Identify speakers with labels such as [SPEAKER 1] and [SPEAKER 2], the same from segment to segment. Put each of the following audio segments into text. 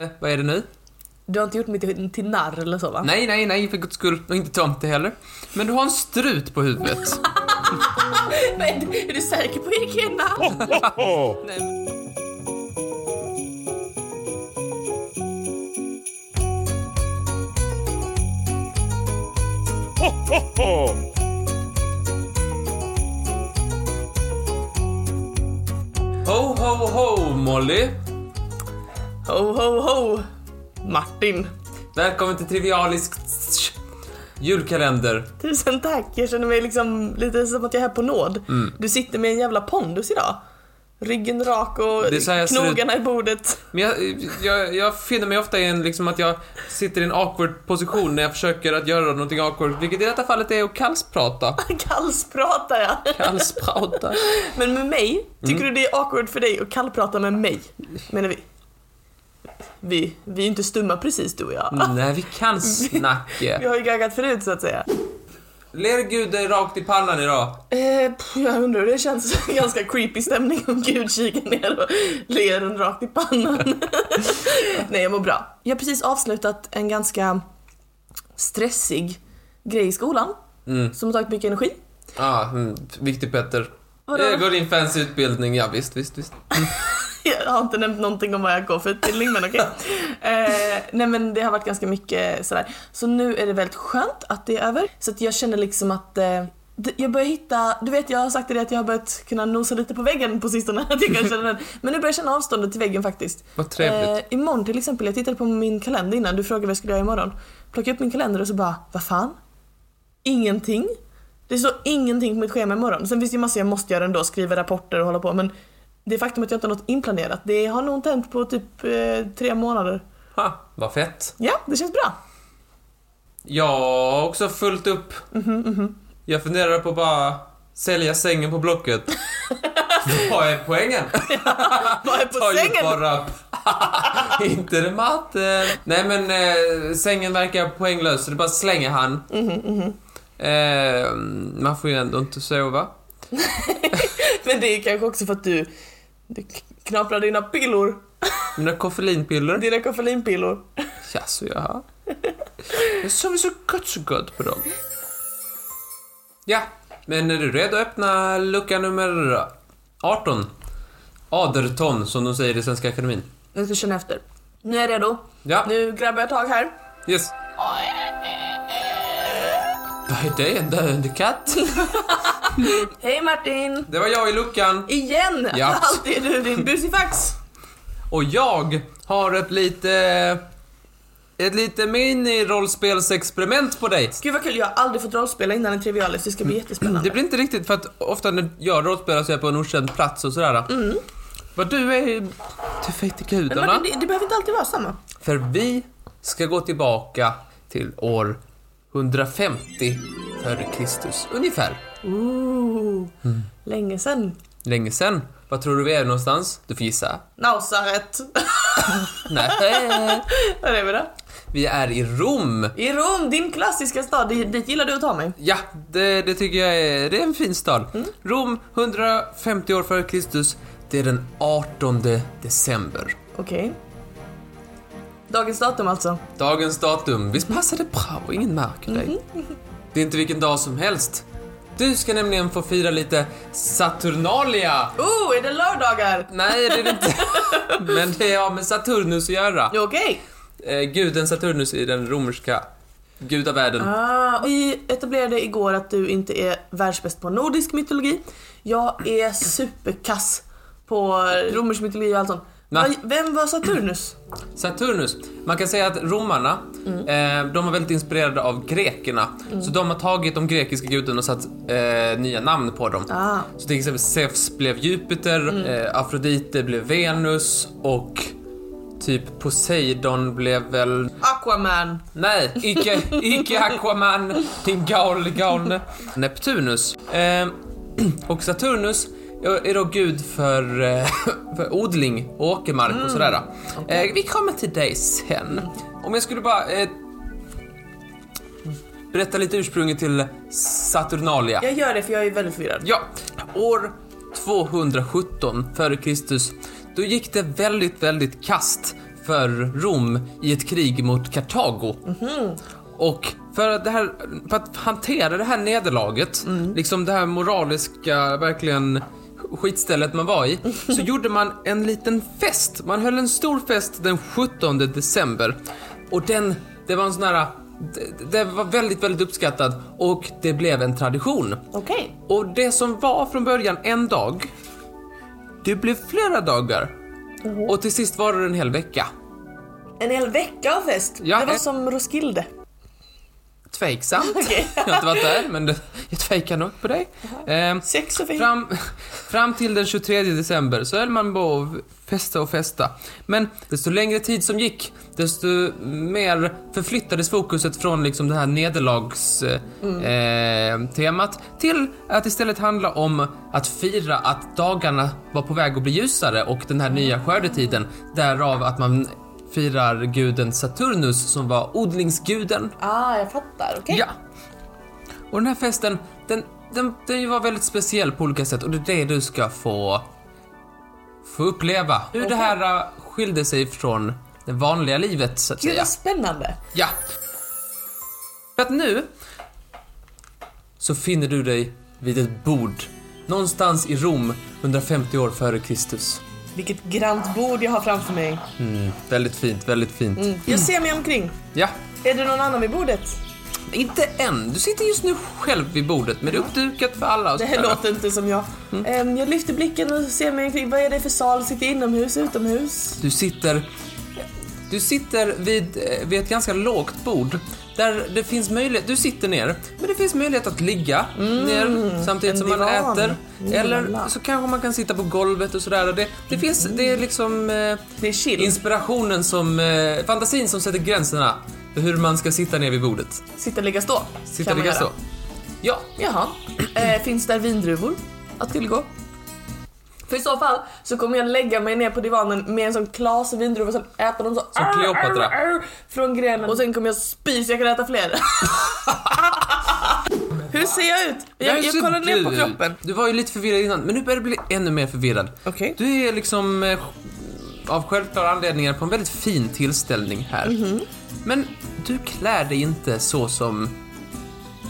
[SPEAKER 1] Eh, Vad är det nu?
[SPEAKER 2] Du har inte gjort mig till, till narr eller så va?
[SPEAKER 1] Nej, nej, nej, för guds skull. Och inte tomte heller. Men du har en strut på huvudet.
[SPEAKER 2] Men, är du säker på vilken namn?
[SPEAKER 1] Ho, ho, ho, Molly.
[SPEAKER 2] Ho, ho, ho! Martin.
[SPEAKER 1] Välkommen till Trivialiskt julkalender.
[SPEAKER 2] Tusen tack, jag känner mig liksom lite som att jag är här på nåd.
[SPEAKER 1] Mm.
[SPEAKER 2] Du sitter med en jävla pondus idag. Ryggen rak och
[SPEAKER 1] Det är så här jag ser
[SPEAKER 2] knogarna i bordet.
[SPEAKER 1] Men jag, jag, jag finner mig ofta i en, liksom att jag sitter i en awkward position när jag försöker att göra någonting awkward, vilket i detta fallet är att kallsprata.
[SPEAKER 2] Kallspratar jag.
[SPEAKER 1] Kallsprata.
[SPEAKER 2] Men med mig, tycker
[SPEAKER 1] Mm.
[SPEAKER 2] du det är awkward för dig att kallprata med mig? Menar vi? Vi, vi är ju inte stumma precis du och jag.
[SPEAKER 1] Nej, vi kan snacka.
[SPEAKER 2] Vi har ju gaggat förut så att säga.
[SPEAKER 1] Ler Gud dig rakt i pannan idag.
[SPEAKER 2] Eh, pff, jag undrar, det känns ganska creepy stämning om Gud kikar ner och ler en rakt i pannan. Nej, jag mår bra. Jag har precis avslutat en ganska stressig grej i skolan
[SPEAKER 1] Mm.
[SPEAKER 2] som har tagit mycket energi.
[SPEAKER 1] Ah, mm, viktig Petter.
[SPEAKER 2] Vadå?
[SPEAKER 1] Jag går din fancy utbildning, ja visst, visst, visst.
[SPEAKER 2] Jag har inte nämnt någonting om vad jag går för utbildning men okej. Eh, nej men det har varit ganska mycket sådär. Så nu är det väldigt skönt att det är över. Så att jag känner liksom att eh, d- jag börjar hitta, du vet jag har sagt till dig att jag har börjat kunna nosa lite på väggen på sistone. Att jag kan känna den. Men nu börjar jag känna avståndet till väggen faktiskt.
[SPEAKER 1] Vad trevligt.
[SPEAKER 2] Eh, imorgon till exempel, jag tittade på min kalender innan, du frågade vad jag skulle göra imorgon. Plockade upp min kalender och så bara, vad fan? Ingenting. Det står ingenting på mitt schema imorgon. Sen finns det ju massor jag måste göra ändå, skriva rapporter och hålla på men det faktum att jag inte har något inplanerat, det har nog inte hänt på typ eh, tre månader.
[SPEAKER 1] Ha, vad fett.
[SPEAKER 2] Ja, det känns bra.
[SPEAKER 1] Jag har också fullt upp.
[SPEAKER 2] Mhm,
[SPEAKER 1] Jag funderar på att bara sälja sängen på Blocket. vad är poängen?
[SPEAKER 2] Vad är på
[SPEAKER 1] Ta ju
[SPEAKER 2] sängen?
[SPEAKER 1] bara Inte det matte. Nej men eh, sängen verkar poänglös så det bara slänger han.
[SPEAKER 2] Mhm,
[SPEAKER 1] Eh, man får ju ändå inte sova.
[SPEAKER 2] Men det är kanske också för att du, du knaprar dina pillor,
[SPEAKER 1] Mina koffeinpiller.
[SPEAKER 2] dina koffeinpillor.
[SPEAKER 1] Jaså, jaha. Jag sover så gott, så gott på dem. Ja, men är du redo att öppna lucka nummer 18? Aderton, som de säger i Svenska Akademin.
[SPEAKER 2] Jag ska känna efter. Nu är jag redo.
[SPEAKER 1] Ja,
[SPEAKER 2] Nu grabbar jag tag här.
[SPEAKER 1] yes. Vad är det? En döende katt?
[SPEAKER 2] Hej Martin!
[SPEAKER 1] Det var jag i luckan.
[SPEAKER 2] Igen!
[SPEAKER 1] Ja.
[SPEAKER 2] Alltid är du din busifax.
[SPEAKER 1] Och jag har ett lite... Ett lite minirollspelsexperiment på dig.
[SPEAKER 2] Gud vad kul, jag har aldrig fått rollspela innan en trivialis, det ska bli jättespännande.
[SPEAKER 1] Mm. Det blir inte riktigt för att ofta när jag rollspelar så är jag på en okänd plats och sådär. Mm. Vad du är... Du fejte
[SPEAKER 2] Men
[SPEAKER 1] gudarna.
[SPEAKER 2] Martin, det, det behöver inte alltid vara samma.
[SPEAKER 1] För vi ska gå tillbaka till år 150 före Kristus, ungefär.
[SPEAKER 2] Ooh, Mm. länge sen.
[SPEAKER 1] Länge sen. Vad tror du vi är någonstans? Du får gissa.
[SPEAKER 2] Nausaret.
[SPEAKER 1] Nej.
[SPEAKER 2] Var är vi då?
[SPEAKER 1] Vi är i Rom.
[SPEAKER 2] I Rom, din klassiska stad, di- dit gillar du att ta mig.
[SPEAKER 1] Ja, det, det tycker jag är, det är en fin stad.
[SPEAKER 2] Mm.
[SPEAKER 1] Rom, 150 år före Kristus. Det är den 18 december.
[SPEAKER 2] Okej. Dagens datum alltså.
[SPEAKER 1] Dagens datum. Visst passar det bra? och Ingen märker dig. Det är inte vilken dag som helst. Du ska nämligen få fira lite Saturnalia.
[SPEAKER 2] Oh, är det lördagar?
[SPEAKER 1] Nej, det är det inte. Men det har med Saturnus att göra.
[SPEAKER 2] Okej.
[SPEAKER 1] Eh, guden Saturnus i den romerska gudavärlden.
[SPEAKER 2] Ah, vi etablerade igår att du inte är världsbäst på nordisk mytologi. Jag är superkass på romersk mytologi och allt sånt.
[SPEAKER 1] Va?
[SPEAKER 2] Va- Vem var Saturnus?
[SPEAKER 1] Saturnus. Man kan säga att romarna, eh, de var väldigt inspirerade av grekerna. Så de har tagit de grekiska gudarna och satt eh, nya namn på dem.
[SPEAKER 2] Ah.
[SPEAKER 1] Så till exempel Zeus blev Jupiter, eh, Afrodite blev Venus och typ Poseidon blev väl...
[SPEAKER 2] Aquaman.
[SPEAKER 1] Nej, icke, icke Aquaman, din gal, galne. Neptunus. Eh, och Saturnus är då gud för, eh, för odling och åkermark och sådär. Eh, vi kommer till dig sen. Om jag skulle bara eh, berätta lite ursprunget till Saturnalia.
[SPEAKER 2] Jag gör det för jag är väldigt förvirrad.
[SPEAKER 1] Ja, år 217 före Kristus, då gick det väldigt, väldigt kast för Rom i ett krig mot Kartago. Och för att, det här, för att hantera det här nederlaget, liksom det här moraliska, verkligen skitstället man var i, så gjorde man en liten fest. Man höll en stor fest den 17 december. Och den, det var en sån här, det, det var väldigt, väldigt uppskattad och det blev en tradition.
[SPEAKER 2] Okej.
[SPEAKER 1] Och det som var från början en dag, det blev flera dagar. Och till sist var det en hel vecka.
[SPEAKER 2] En hel vecka av fest.
[SPEAKER 1] Ja, eh.
[SPEAKER 2] det var
[SPEAKER 1] en-
[SPEAKER 2] som Roskilde.
[SPEAKER 1] Tveksamt.
[SPEAKER 2] Okej.
[SPEAKER 1] Jag har inte varit där, men det, jag tvekar nog på dig. Ehm,
[SPEAKER 2] Sex och fem.
[SPEAKER 1] fram, fram till den 23 december så höll man på att festa och festa. Men desto längre tid som gick, desto mer förflyttades fokuset från liksom det här nederlagstemat eh, temat till att istället handla om att fira att dagarna var på väg att bli ljusare och den här nya skördetiden, därav att man firar guden Saturnus som var odlingsguden.
[SPEAKER 2] Ah, jag fattar. Okej.
[SPEAKER 1] Ja. Och den här festen, den, den, den var väldigt speciell på olika sätt och det är det du ska få, få uppleva. Hur det
[SPEAKER 2] Okej.
[SPEAKER 1] här äh, skilde sig från det vanliga livet så att
[SPEAKER 2] Gud
[SPEAKER 1] säga.
[SPEAKER 2] vad spännande.
[SPEAKER 1] Ja. För att nu så finner du dig vid ett bord någonstans i Rom 150 år före Kristus.
[SPEAKER 2] Vilket grant bord jag har framför mig.
[SPEAKER 1] Väldigt fint, väldigt fint.
[SPEAKER 2] Jag ser mig omkring.
[SPEAKER 1] Ja.
[SPEAKER 2] Är det någon annan vid bordet?
[SPEAKER 1] Inte än. Du sitter just nu själv vid bordet men det är uppdukat för alla. och
[SPEAKER 2] Det här
[SPEAKER 1] sådär.
[SPEAKER 2] låter inte som jag. Ehm, jag lyfter blicken och ser mig omkring. Vad är det för sal? Sitter jag inomhus, utomhus?
[SPEAKER 1] Du sitter... Du sitter vid, eh, vid ett ganska lågt bord där det finns möjlighet... Du sitter ner, men det finns möjlighet att ligga ner samtidigt
[SPEAKER 2] Mm. en
[SPEAKER 1] som man
[SPEAKER 2] divan. Mm.
[SPEAKER 1] äter. Eller
[SPEAKER 2] Jalla.
[SPEAKER 1] så kanske man kan sitta på golvet och sådär. Och Det, det finns... Det är liksom eh,
[SPEAKER 2] Det är chill.
[SPEAKER 1] inspirationen som... Eh, fantasin som sätter gränserna för hur man ska sitta ner vid bordet.
[SPEAKER 2] Sitta, ligga, stå.
[SPEAKER 1] Sitta
[SPEAKER 2] kan man
[SPEAKER 1] ligga
[SPEAKER 2] göra.
[SPEAKER 1] så. Ja,
[SPEAKER 2] Jaha. Eh, finns där vindruvor att tillgå? För i så fall så kommer jag lägga mig ner på divanen med en sån klase vindruvor och sen äta dem så
[SPEAKER 1] Som Kleopatra.
[SPEAKER 2] arr, arr, från grenen och sen kommer jag spy så jag kan äta fler. Hur ser jag ut? Jag,
[SPEAKER 1] Där
[SPEAKER 2] jag
[SPEAKER 1] ser
[SPEAKER 2] kollar ner på
[SPEAKER 1] du.
[SPEAKER 2] kroppen.
[SPEAKER 1] Du var ju lite förvirrad innan, men nu börjar du bli ännu mer förvirrad.
[SPEAKER 2] Okej.
[SPEAKER 1] Du är liksom eh, av självklara anledningar på en väldigt fin tillställning här.
[SPEAKER 2] Mhm.
[SPEAKER 1] Men du klär dig inte så som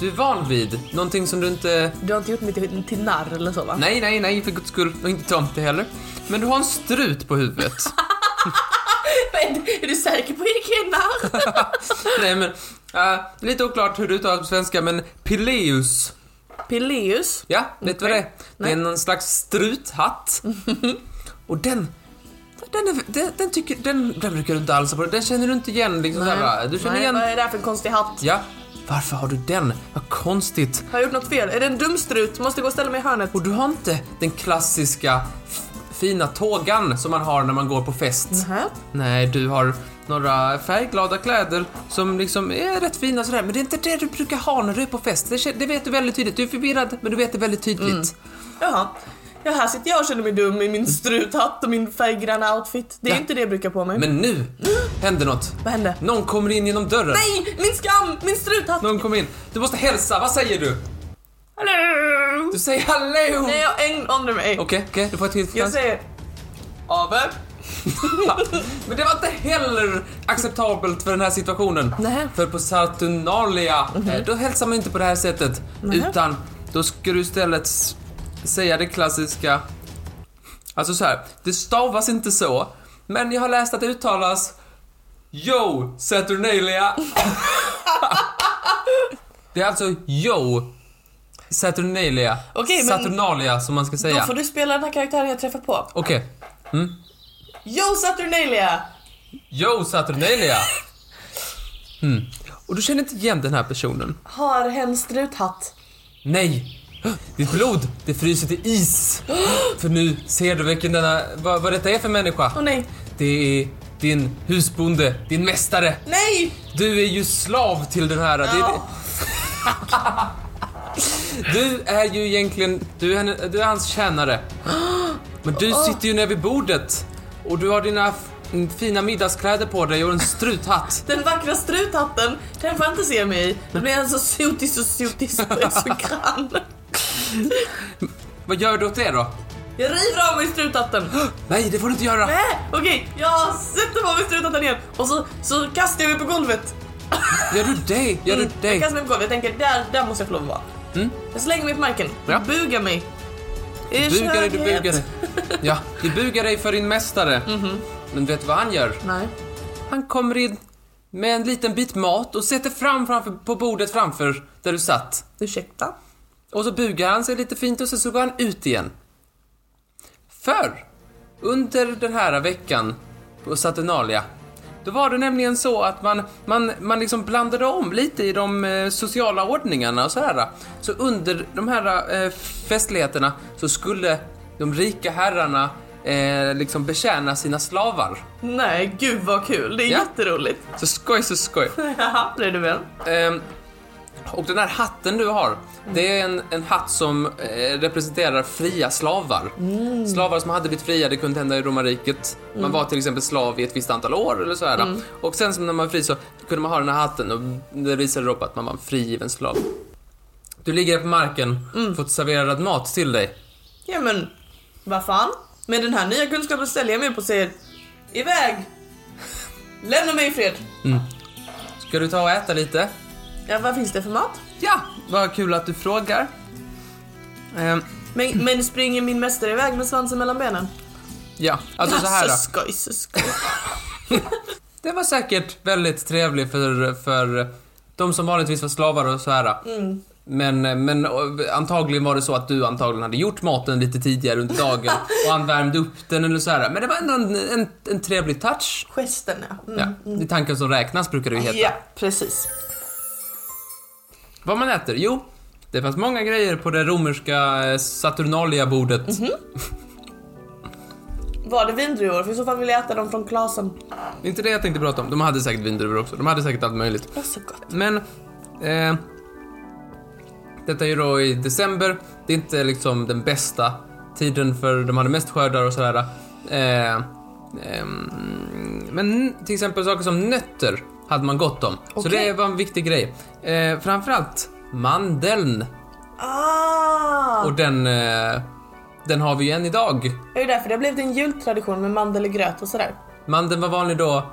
[SPEAKER 1] du är van vid. Någonting som du inte...
[SPEAKER 2] Du har inte gjort mig till, till narr eller så va?
[SPEAKER 1] Nej, nej, nej, för guds skull. Och inte tomte heller. Men du har en strut på huvudet.
[SPEAKER 2] Men, är du säker på att jag är narr?
[SPEAKER 1] nej, men... eh, lite oklart hur du uttalar det på svenska, men Pileus.
[SPEAKER 2] Peleus.
[SPEAKER 1] Ja, vet du vad det är? Det är någon slags struthatt. Och den... Den, är, den, den, tycker, den, den brukar du inte alls ha på dig. Den känner du inte igen. Liksom så här, va? du känner
[SPEAKER 2] Nej,
[SPEAKER 1] igen...
[SPEAKER 2] Vad är det här för en konstig hatt?
[SPEAKER 1] Ja. Varför har du den? Vad konstigt.
[SPEAKER 2] Har jag gjort något fel? Är det en dum strut? Måste gå och ställa mig i hörnet.
[SPEAKER 1] Och du har inte den klassiska f- fina tågan som man har när man går på fest.
[SPEAKER 2] Nähä?
[SPEAKER 1] Nej, du har några färgglada kläder som liksom är rätt fina sådär. Men det är inte det du brukar ha när du är på fest. Det, kän- det vet du väldigt tydligt. Du är förvirrad, men du vet det väldigt tydligt.
[SPEAKER 2] Mm. Jaha. Ja, här sitter jag och känner mig dum i min struthatt och min färggranna outfit. Det är
[SPEAKER 1] Ja.
[SPEAKER 2] inte det jag brukar på mig.
[SPEAKER 1] Men nu händer något.
[SPEAKER 2] Vad hände?
[SPEAKER 1] Någon kommer in genom dörren.
[SPEAKER 2] Nej! Min skam! Min struthatt!
[SPEAKER 1] Någon kommer in. Du måste hälsa, vad säger du?
[SPEAKER 2] Hallå!
[SPEAKER 1] Du säger hallå!
[SPEAKER 2] Nej,
[SPEAKER 1] Okej,
[SPEAKER 2] jag ändrar mig.
[SPEAKER 1] okej, du får ett till
[SPEAKER 2] Jag
[SPEAKER 1] chans.
[SPEAKER 2] säger... Ave.
[SPEAKER 1] Men det var inte heller acceptabelt för den här situationen.
[SPEAKER 2] Nähä. Mhm.
[SPEAKER 1] För på Saturnalia, eh, då hälsar man inte på det här sättet. Utan då ska du istället s- säga det klassiska. Alltså så här, det stavas inte så. Men jag har läst att det uttalas Yo Saturnalia. det är alltså Yo Saturnalia.
[SPEAKER 2] Okej, men-
[SPEAKER 1] Saturnalia som man ska
[SPEAKER 2] Då
[SPEAKER 1] säga.
[SPEAKER 2] får du spela den här karaktären jag träffar på.
[SPEAKER 1] Okej.
[SPEAKER 2] Yo Saturnalia!
[SPEAKER 1] Yo Saturnalia! Hmm. Mm. Och du känner inte igen den här personen?
[SPEAKER 2] Har hen struthatt?
[SPEAKER 1] Nej! Ditt blod, det fryser till is! För nu ser du vilken denna, vad, vad detta är för människa.
[SPEAKER 2] Åh nej.
[SPEAKER 1] Det är din husbonde, din mästare.
[SPEAKER 2] Nej!
[SPEAKER 1] Du är ju slav till den här. Det,
[SPEAKER 2] Ja.
[SPEAKER 1] du är ju egentligen, du är, henne- du är hans tjänare. Men du sitter ju nere vid bordet och du har dina f- fina middagskläder på dig och en struthatt.
[SPEAKER 2] Den vackra struthatten, den får jag inte se mig i. Då blir jag så sotig så sotig så jag så grann.
[SPEAKER 1] Vad gör du åt det då?
[SPEAKER 2] Jag river av mig struthatten.
[SPEAKER 1] Nej, det får du inte göra!
[SPEAKER 2] Nej, okej, jag sätter på mig struthatten igen och så, så kastar jag mig på golvet.
[SPEAKER 1] Gör du det? Gör du
[SPEAKER 2] Mm, Jag
[SPEAKER 1] det?
[SPEAKER 2] kastar mig på golvet, jag tänker där, där måste jag få lov att vara.
[SPEAKER 1] Mm.
[SPEAKER 2] Jag slänger mig på marken,
[SPEAKER 1] Ja.
[SPEAKER 2] bugar mig. I
[SPEAKER 1] Buga dig, du
[SPEAKER 2] skönhet.
[SPEAKER 1] bugar dig. Ja, du bugar dig för din mästare.
[SPEAKER 2] Mhm.
[SPEAKER 1] Men vet du vad han gör?
[SPEAKER 2] Nej.
[SPEAKER 1] Han kommer in med en liten bit mat och sätter fram framför, på bordet framför där du satt.
[SPEAKER 2] Ursäkta?
[SPEAKER 1] Och så bugar han sig lite fint och sen så går han ut igen. För under den här veckan på Saturnalia, då var det nämligen så att man, man, man liksom blandade om lite i de eh, sociala ordningarna och så här. Så under de här eh, festligheterna så skulle de rika herrarna eh, liksom betjäna sina slavar.
[SPEAKER 2] Nej, gud vad kul. Det är
[SPEAKER 1] Ja.
[SPEAKER 2] jätteroligt.
[SPEAKER 1] Så skoj, så skoj.
[SPEAKER 2] Haha, det är du väl?
[SPEAKER 1] Ehm, och den här hatten du har, det är en, en hatt som eh, representerar fria slavar. Slavar som hade blivit fria, det kunde hända i romarriket. Man var till exempel slav i ett visst antal år eller så här. Och sen som när man var fri så kunde man ha den här hatten och det visade då på att man var en frigiven slav. Du ligger på marken, fått serverad mat till dig.
[SPEAKER 2] Ja men, vad fan? Med den här nya kunskapen ställer jag mig upp och säger Iväg! Lämna mig i fred.
[SPEAKER 1] Ska du ta och äta lite?
[SPEAKER 2] Ja, vad finns det för mat?
[SPEAKER 1] Ja, vad kul att du frågar. Ehm,
[SPEAKER 2] Men, men springer min mästare iväg med svansen mellan benen?
[SPEAKER 1] ja, alltså så här då.
[SPEAKER 2] Så skoj, så skoj.
[SPEAKER 1] Det var säkert väldigt trevligt för, för de som vanligtvis var slavar och så här.
[SPEAKER 2] Mm.
[SPEAKER 1] Men, men antagligen var det så att du antagligen hade gjort maten lite tidigare under dagen och han värmde upp den eller så här. Men det var ändå en, en, en trevlig touch.
[SPEAKER 2] Gesten ja.
[SPEAKER 1] Ja,
[SPEAKER 2] Mm.
[SPEAKER 1] det är tanken som räknas brukar det ju heta.
[SPEAKER 2] Ja, precis.
[SPEAKER 1] Vad man äter? Jo, det fanns många grejer på det romerska eh, Saturnalia-bordet.
[SPEAKER 2] Mhm. Var det vindruvor? För i så fall vill jag äta dem från glasen.
[SPEAKER 1] Det är inte det jag tänkte prata om. De hade säkert vindruvor också. De hade säkert allt möjligt.
[SPEAKER 2] Det var så gott.
[SPEAKER 1] Men... Eh, detta är ju då i december. Det är inte liksom den bästa tiden för de hade mest skördar och sådär. Eh, ehm, men till exempel saker som nötter hade man gott om. Så
[SPEAKER 2] Okej.
[SPEAKER 1] det var en viktig grej. Eh, framförallt mandeln.
[SPEAKER 2] Ah!
[SPEAKER 1] Och den, eh, den har vi ju än idag.
[SPEAKER 2] Det är ju därför det har blivit en jultradition med mandel i gröt och sådär.
[SPEAKER 1] Mandeln var vanlig då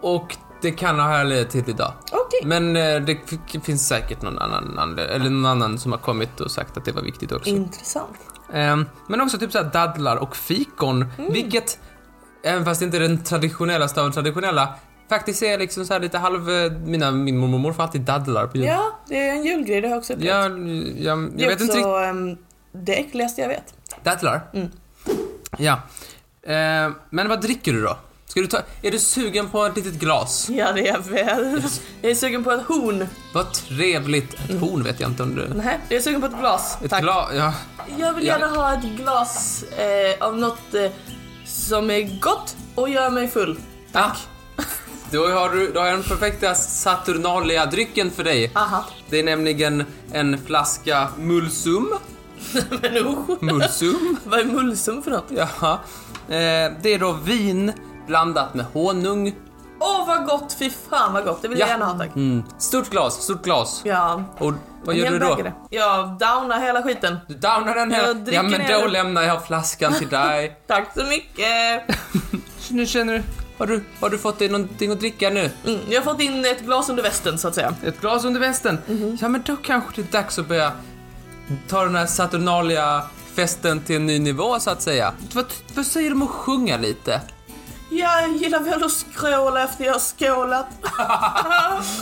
[SPEAKER 1] och det kan ha härlighet till idag.
[SPEAKER 2] Okej.
[SPEAKER 1] Men eh, det f- finns säkert någon annan, anle- eller någon annan som har kommit och sagt att det var viktigt också.
[SPEAKER 2] Mm. Intressant.
[SPEAKER 1] Ehm, men också typ såhär dadlar och fikon,
[SPEAKER 2] Mm.
[SPEAKER 1] vilket, även fast det inte är den traditionellaste av de traditionella, faktiskt är liksom såhär lite halv... eh, Mina, min mormor och morfar har alltid dadlar på jul.
[SPEAKER 2] Ja, det är en julgrej, det har jag också upplevt.
[SPEAKER 1] Jag, jag, jag,
[SPEAKER 2] det är
[SPEAKER 1] vet inte
[SPEAKER 2] också
[SPEAKER 1] riktigt.
[SPEAKER 2] ehm, det äckligaste jag vet.
[SPEAKER 1] Dadlar?
[SPEAKER 2] Mm.
[SPEAKER 1] Ja. Ehm, men vad dricker du då? Ska du ta, är du sugen på ett litet glas?
[SPEAKER 2] Ja, det är jag väl. Jag är sugen på ett horn.
[SPEAKER 1] Vad trevligt. Ett horn vet jag inte om du...
[SPEAKER 2] Mm. Nej, jag är sugen på ett glas.
[SPEAKER 1] Ett
[SPEAKER 2] Tack.
[SPEAKER 1] glas, ja.
[SPEAKER 2] Jag vill
[SPEAKER 1] Ja.
[SPEAKER 2] gärna ha ett glas eh, av något eh, som är gott och gör mig full.
[SPEAKER 1] Tack. Då har du då har jag den perfekta Saturnalia-drycken för dig.
[SPEAKER 2] Aha.
[SPEAKER 1] Det är nämligen en flaska mulsum.
[SPEAKER 2] Men usch,
[SPEAKER 1] Mulsum?
[SPEAKER 2] vad är mulsum för något?
[SPEAKER 1] Jaha. Eh, det är då vin blandat med honung.
[SPEAKER 2] Åh, vad gott! Fy fan vad gott. Det vill jag
[SPEAKER 1] Ja.
[SPEAKER 2] gärna ha tack.
[SPEAKER 1] Mm. Stort glas, stort glas.
[SPEAKER 2] Ja.
[SPEAKER 1] Och vad gör
[SPEAKER 2] jag
[SPEAKER 1] du då?
[SPEAKER 2] väger det. Jag downar hela skiten.
[SPEAKER 1] Du downar den
[SPEAKER 2] Jag
[SPEAKER 1] här.
[SPEAKER 2] dricker
[SPEAKER 1] Ja men då
[SPEAKER 2] ner.
[SPEAKER 1] lämnar jag flaskan till dig.
[SPEAKER 2] Tack så mycket.
[SPEAKER 1] nu känner du, har du, har du fått dig någonting att dricka nu?
[SPEAKER 2] Mm, jag har fått in ett glas under västen så att säga.
[SPEAKER 1] Ett glas under västen? Ja, men då kanske det är dags att börja ta den här Saturnalia festen till en ny nivå så att säga. Vad, vad säger du om att sjunga lite?
[SPEAKER 2] Jag gillar väl att skråla efter jag har skålat.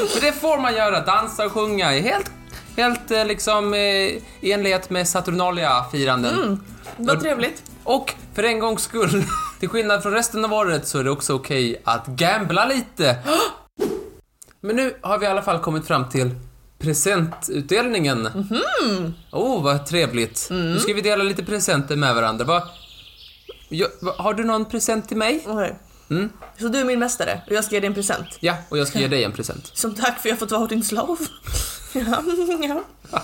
[SPEAKER 1] För det får man göra, dansa och sjunga. i Helt, helt eh, liksom eh, i enlighet med Saturnalia-firanden.
[SPEAKER 2] Vad trevligt.
[SPEAKER 1] Och för en gångs skull, till skillnad från resten av året så är det också okej att gambla lite. Men nu har vi i alla fall kommit fram till presentutdelningen. Åh,
[SPEAKER 2] Mhm.
[SPEAKER 1] oh, vad trevligt.
[SPEAKER 2] Mm.
[SPEAKER 1] Nu ska vi dela lite presenter med varandra. Va, ja, va, har du någon present till mig?
[SPEAKER 2] Okej.
[SPEAKER 1] Mm.
[SPEAKER 2] Så du är min mästare och jag ska ge dig en present.
[SPEAKER 1] Ja, och jag ska ge dig en present.
[SPEAKER 2] Som tack för jag fått vara din slav. ja, ja.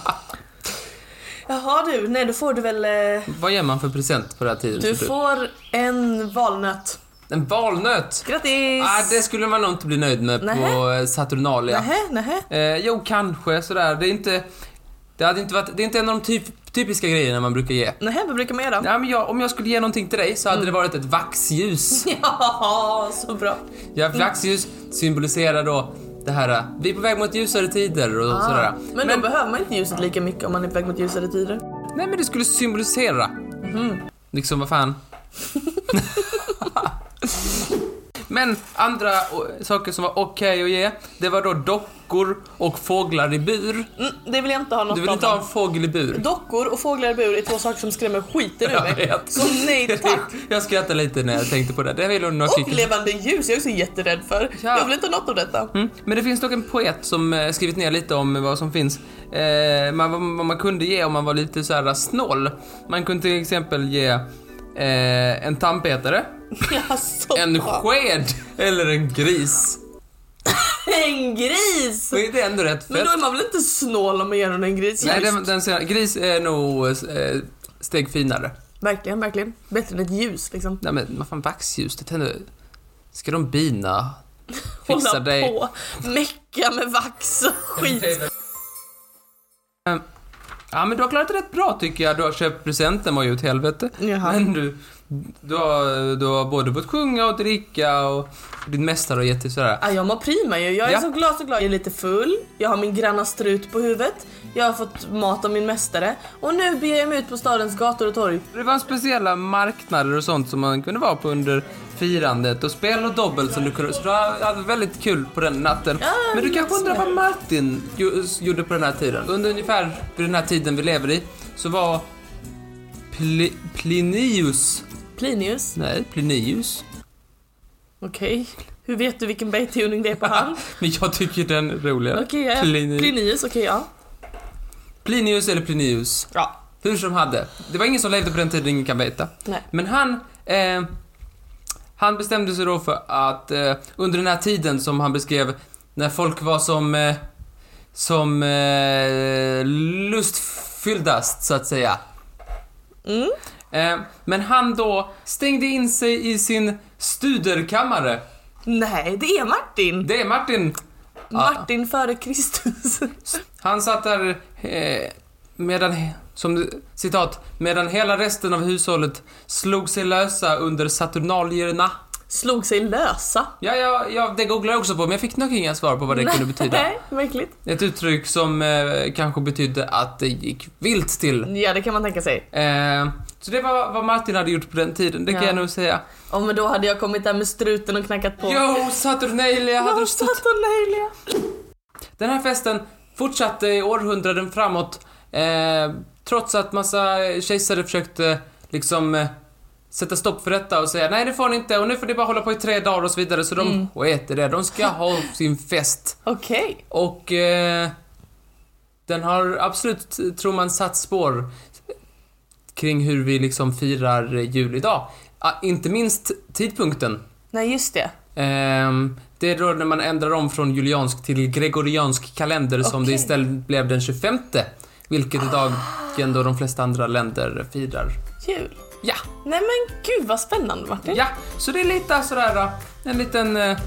[SPEAKER 2] Jaha du, nej då får du väl... eh,
[SPEAKER 1] Vad ger man för present på den här tiden?
[SPEAKER 2] Du
[SPEAKER 1] tror
[SPEAKER 2] får en valnöt.
[SPEAKER 1] En valnöt!
[SPEAKER 2] Grattis!
[SPEAKER 1] Ah, det skulle man nog inte bli nöjd med på
[SPEAKER 2] Nähä.
[SPEAKER 1] eh, Saturnalia.
[SPEAKER 2] Nähä, nähä.
[SPEAKER 1] Eh, jo, kanske sådär. Det är inte... Det hade inte varit... Det är inte en av de typ, Typiska grejerna man brukar ge.
[SPEAKER 2] Nej, vad brukar man göra?
[SPEAKER 1] Nej, men jag, om jag skulle ge någonting till dig så hade det varit ett vaxljus.
[SPEAKER 2] Ja, så bra.
[SPEAKER 1] Ja, vaxljus symboliserar då det här, eh, vi är på väg mot ljusare tider och sådär.
[SPEAKER 2] Men, då behöver man inte ljuset lika mycket om man är på väg mot ljusare tider.
[SPEAKER 1] Nej men det skulle symbolisera. Liksom vad fan. men andra o- saker som var okej att ge, det var då dockor och fåglar i bur.
[SPEAKER 2] Mm, det vill jag inte ha något
[SPEAKER 1] Du vill inte
[SPEAKER 2] av.
[SPEAKER 1] ha en fågel i bur?
[SPEAKER 2] Dockor och fåglar i bur är två saker som skrämmer skiten ur
[SPEAKER 1] Jag
[SPEAKER 2] mig.
[SPEAKER 1] vet.
[SPEAKER 2] Så nej tack.
[SPEAKER 1] Jag skrattade lite när jag tänkte på det. Det vill hon nog
[SPEAKER 2] Och levande ljus, jag är också jätterädd för.
[SPEAKER 1] Ja.
[SPEAKER 2] Jag vill inte ha något av detta.
[SPEAKER 1] Mm. Men det finns dock en poet som eh, skrivit ner lite om vad som finns, eh, man, vad vad man kunde ge om man var lite så här snål. Man kunde till exempel ge eh, en tandpetare,
[SPEAKER 2] Jaså,
[SPEAKER 1] en
[SPEAKER 2] fan.
[SPEAKER 1] sked eller en gris.
[SPEAKER 2] en gris!
[SPEAKER 1] Och är det ändå rätt
[SPEAKER 2] Men
[SPEAKER 1] fett?
[SPEAKER 2] då är man väl inte snål om man ger någon en gris?
[SPEAKER 1] Nej, den, den senare, gris är nog eh, steg finare.
[SPEAKER 2] Verkligen, verkligen. Bättre än ett ljus liksom.
[SPEAKER 1] Nej men vad fan, vaxljus, det tänder... Ska de bina? Fixa
[SPEAKER 2] Hålla
[SPEAKER 1] dig.
[SPEAKER 2] på, mecka med vax och skit.
[SPEAKER 1] Ehm, Ja men du har klarat det rätt bra tycker jag. Du har köpt presenten var ju ett helvete.
[SPEAKER 2] Jaha.
[SPEAKER 1] Men du, du, har, du har både fått sjunga och dricka och din mästare har gett dig sådär.
[SPEAKER 2] Ja, jag mår prima ju. Jag är
[SPEAKER 1] Ja.
[SPEAKER 2] så glad, så glad. Jag är lite full, jag har min granna strut på huvudet, jag har fått mat av min mästare och nu beger jag mig ut på stadens gator och torg.
[SPEAKER 1] Det var speciella marknader och sånt som man kunde vara på under firandet och spel och dobbel som du kunde... Så du hade väldigt kul på den natten.
[SPEAKER 2] Ja,
[SPEAKER 1] Men du kanske
[SPEAKER 2] så
[SPEAKER 1] undrar
[SPEAKER 2] är
[SPEAKER 1] vad Martin ju- gjorde på den här tiden? Under ungefär vid den här tiden vi lever i så var Pli, Plinius...
[SPEAKER 2] Plinius,
[SPEAKER 1] Nej, Plinius.
[SPEAKER 2] okej. Hur vet du vilken bait-tuning det är på han?
[SPEAKER 1] Men jag tycker den är roligare.
[SPEAKER 2] Okej, ja.
[SPEAKER 1] Plini-
[SPEAKER 2] Plinius, okej ja.
[SPEAKER 1] Plinius eller Plinius.
[SPEAKER 2] Ja,
[SPEAKER 1] Hur som hade. Det var ingen som levde på den tiden, ingen kan veta.
[SPEAKER 2] nej.
[SPEAKER 1] Men han, eh, han bestämde sig då för att eh, under den här tiden som han beskrev, när folk var som, eh, som eh, lustfylldast så att säga.
[SPEAKER 2] Mm.
[SPEAKER 1] Eh, men han då stängde in sig i sin studerkammare.
[SPEAKER 2] Nej, det är Martin!
[SPEAKER 1] Det är Martin.
[SPEAKER 2] Martin före Kristus.
[SPEAKER 1] Han satt där eh, medan, som citat, medan hela resten av hushållet slog sig lösa under saturnalierna.
[SPEAKER 2] Slog sig lösa.
[SPEAKER 1] Ja, ja, ja, det googlar jag också på, men jag fick nog inga svar på vad det kunde betyda.
[SPEAKER 2] Nej, verkligt.
[SPEAKER 1] Ett uttryck som eh, kanske betydde att det gick vilt till.
[SPEAKER 2] Ja, det kan man tänka sig.
[SPEAKER 1] Eh, så det var vad Martin hade gjort på den tiden, det kan
[SPEAKER 2] Ja.
[SPEAKER 1] jag nog säga.
[SPEAKER 2] Ja, men då hade jag kommit där med struten och knackat på.
[SPEAKER 1] Yo, Saturnalia hade
[SPEAKER 2] Jag
[SPEAKER 1] stått.
[SPEAKER 2] satt och nejliga.
[SPEAKER 1] Den här festen fortsatte i århundraden framåt, eh, trots att massa kejsare försökte liksom eh, sätta stopp för detta och säga nej det får ni inte och nu får ni bara hålla på i tre dagar och så vidare. Så de sket i det, de ska ha sin fest.
[SPEAKER 2] Okej.
[SPEAKER 1] Och eh, den har absolut, tror man, satt spår kring hur vi liksom firar jul idag. Ah, inte minst tidpunkten.
[SPEAKER 2] Nej, just det.
[SPEAKER 1] Ehm, det är då när man ändrar om från juliansk till gregoriansk kalender som det
[SPEAKER 2] Okej. Ah.
[SPEAKER 1] istället blev den 25. Vilket är dagen då de flesta andra länder firar.
[SPEAKER 2] Jul.
[SPEAKER 1] Ja,
[SPEAKER 2] Nej men gud vad spännande Martin.
[SPEAKER 1] ja, så det är lite sådär då, en liten... Eh,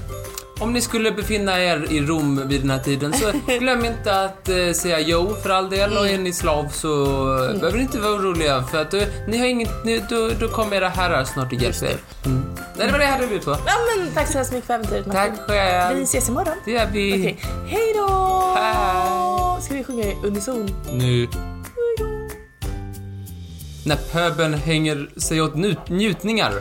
[SPEAKER 1] om ni skulle befinna er i Rom vid den här tiden så glöm inte att eh, säga jo för all del och är ni slav så eh,
[SPEAKER 2] Mm.
[SPEAKER 1] behöver ni inte vara oroliga för att du, ni har inget, ni, då, då kommer era herrar snart och hjälper er. Mm. Nej, det var det jag hade att bjuda på.
[SPEAKER 2] Ja men tack så hemskt mycket för äventyret Martin.
[SPEAKER 1] Tack själv.
[SPEAKER 2] Mm. Vi ses imorgon.
[SPEAKER 1] Det gör vi.
[SPEAKER 2] Okej, hej då!
[SPEAKER 1] Hej.
[SPEAKER 2] Ska vi sjunga i unison?
[SPEAKER 1] Nu. När pöbeln hänger sig åt nu- njutningar.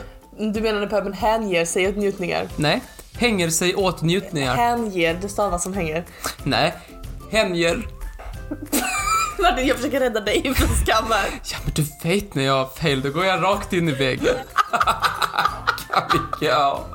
[SPEAKER 2] Du menar när pöbeln hänger sig åt njutningar?
[SPEAKER 1] Nej, hänger sig åt njutningar.
[SPEAKER 2] Hänger, det stavas som hänger.
[SPEAKER 1] Nej, hänger.
[SPEAKER 2] Martin jag försöker rädda dig från skam här.
[SPEAKER 1] Ja men du vet när jag har fel, då går jag rakt in i väggen. Kan vi gå?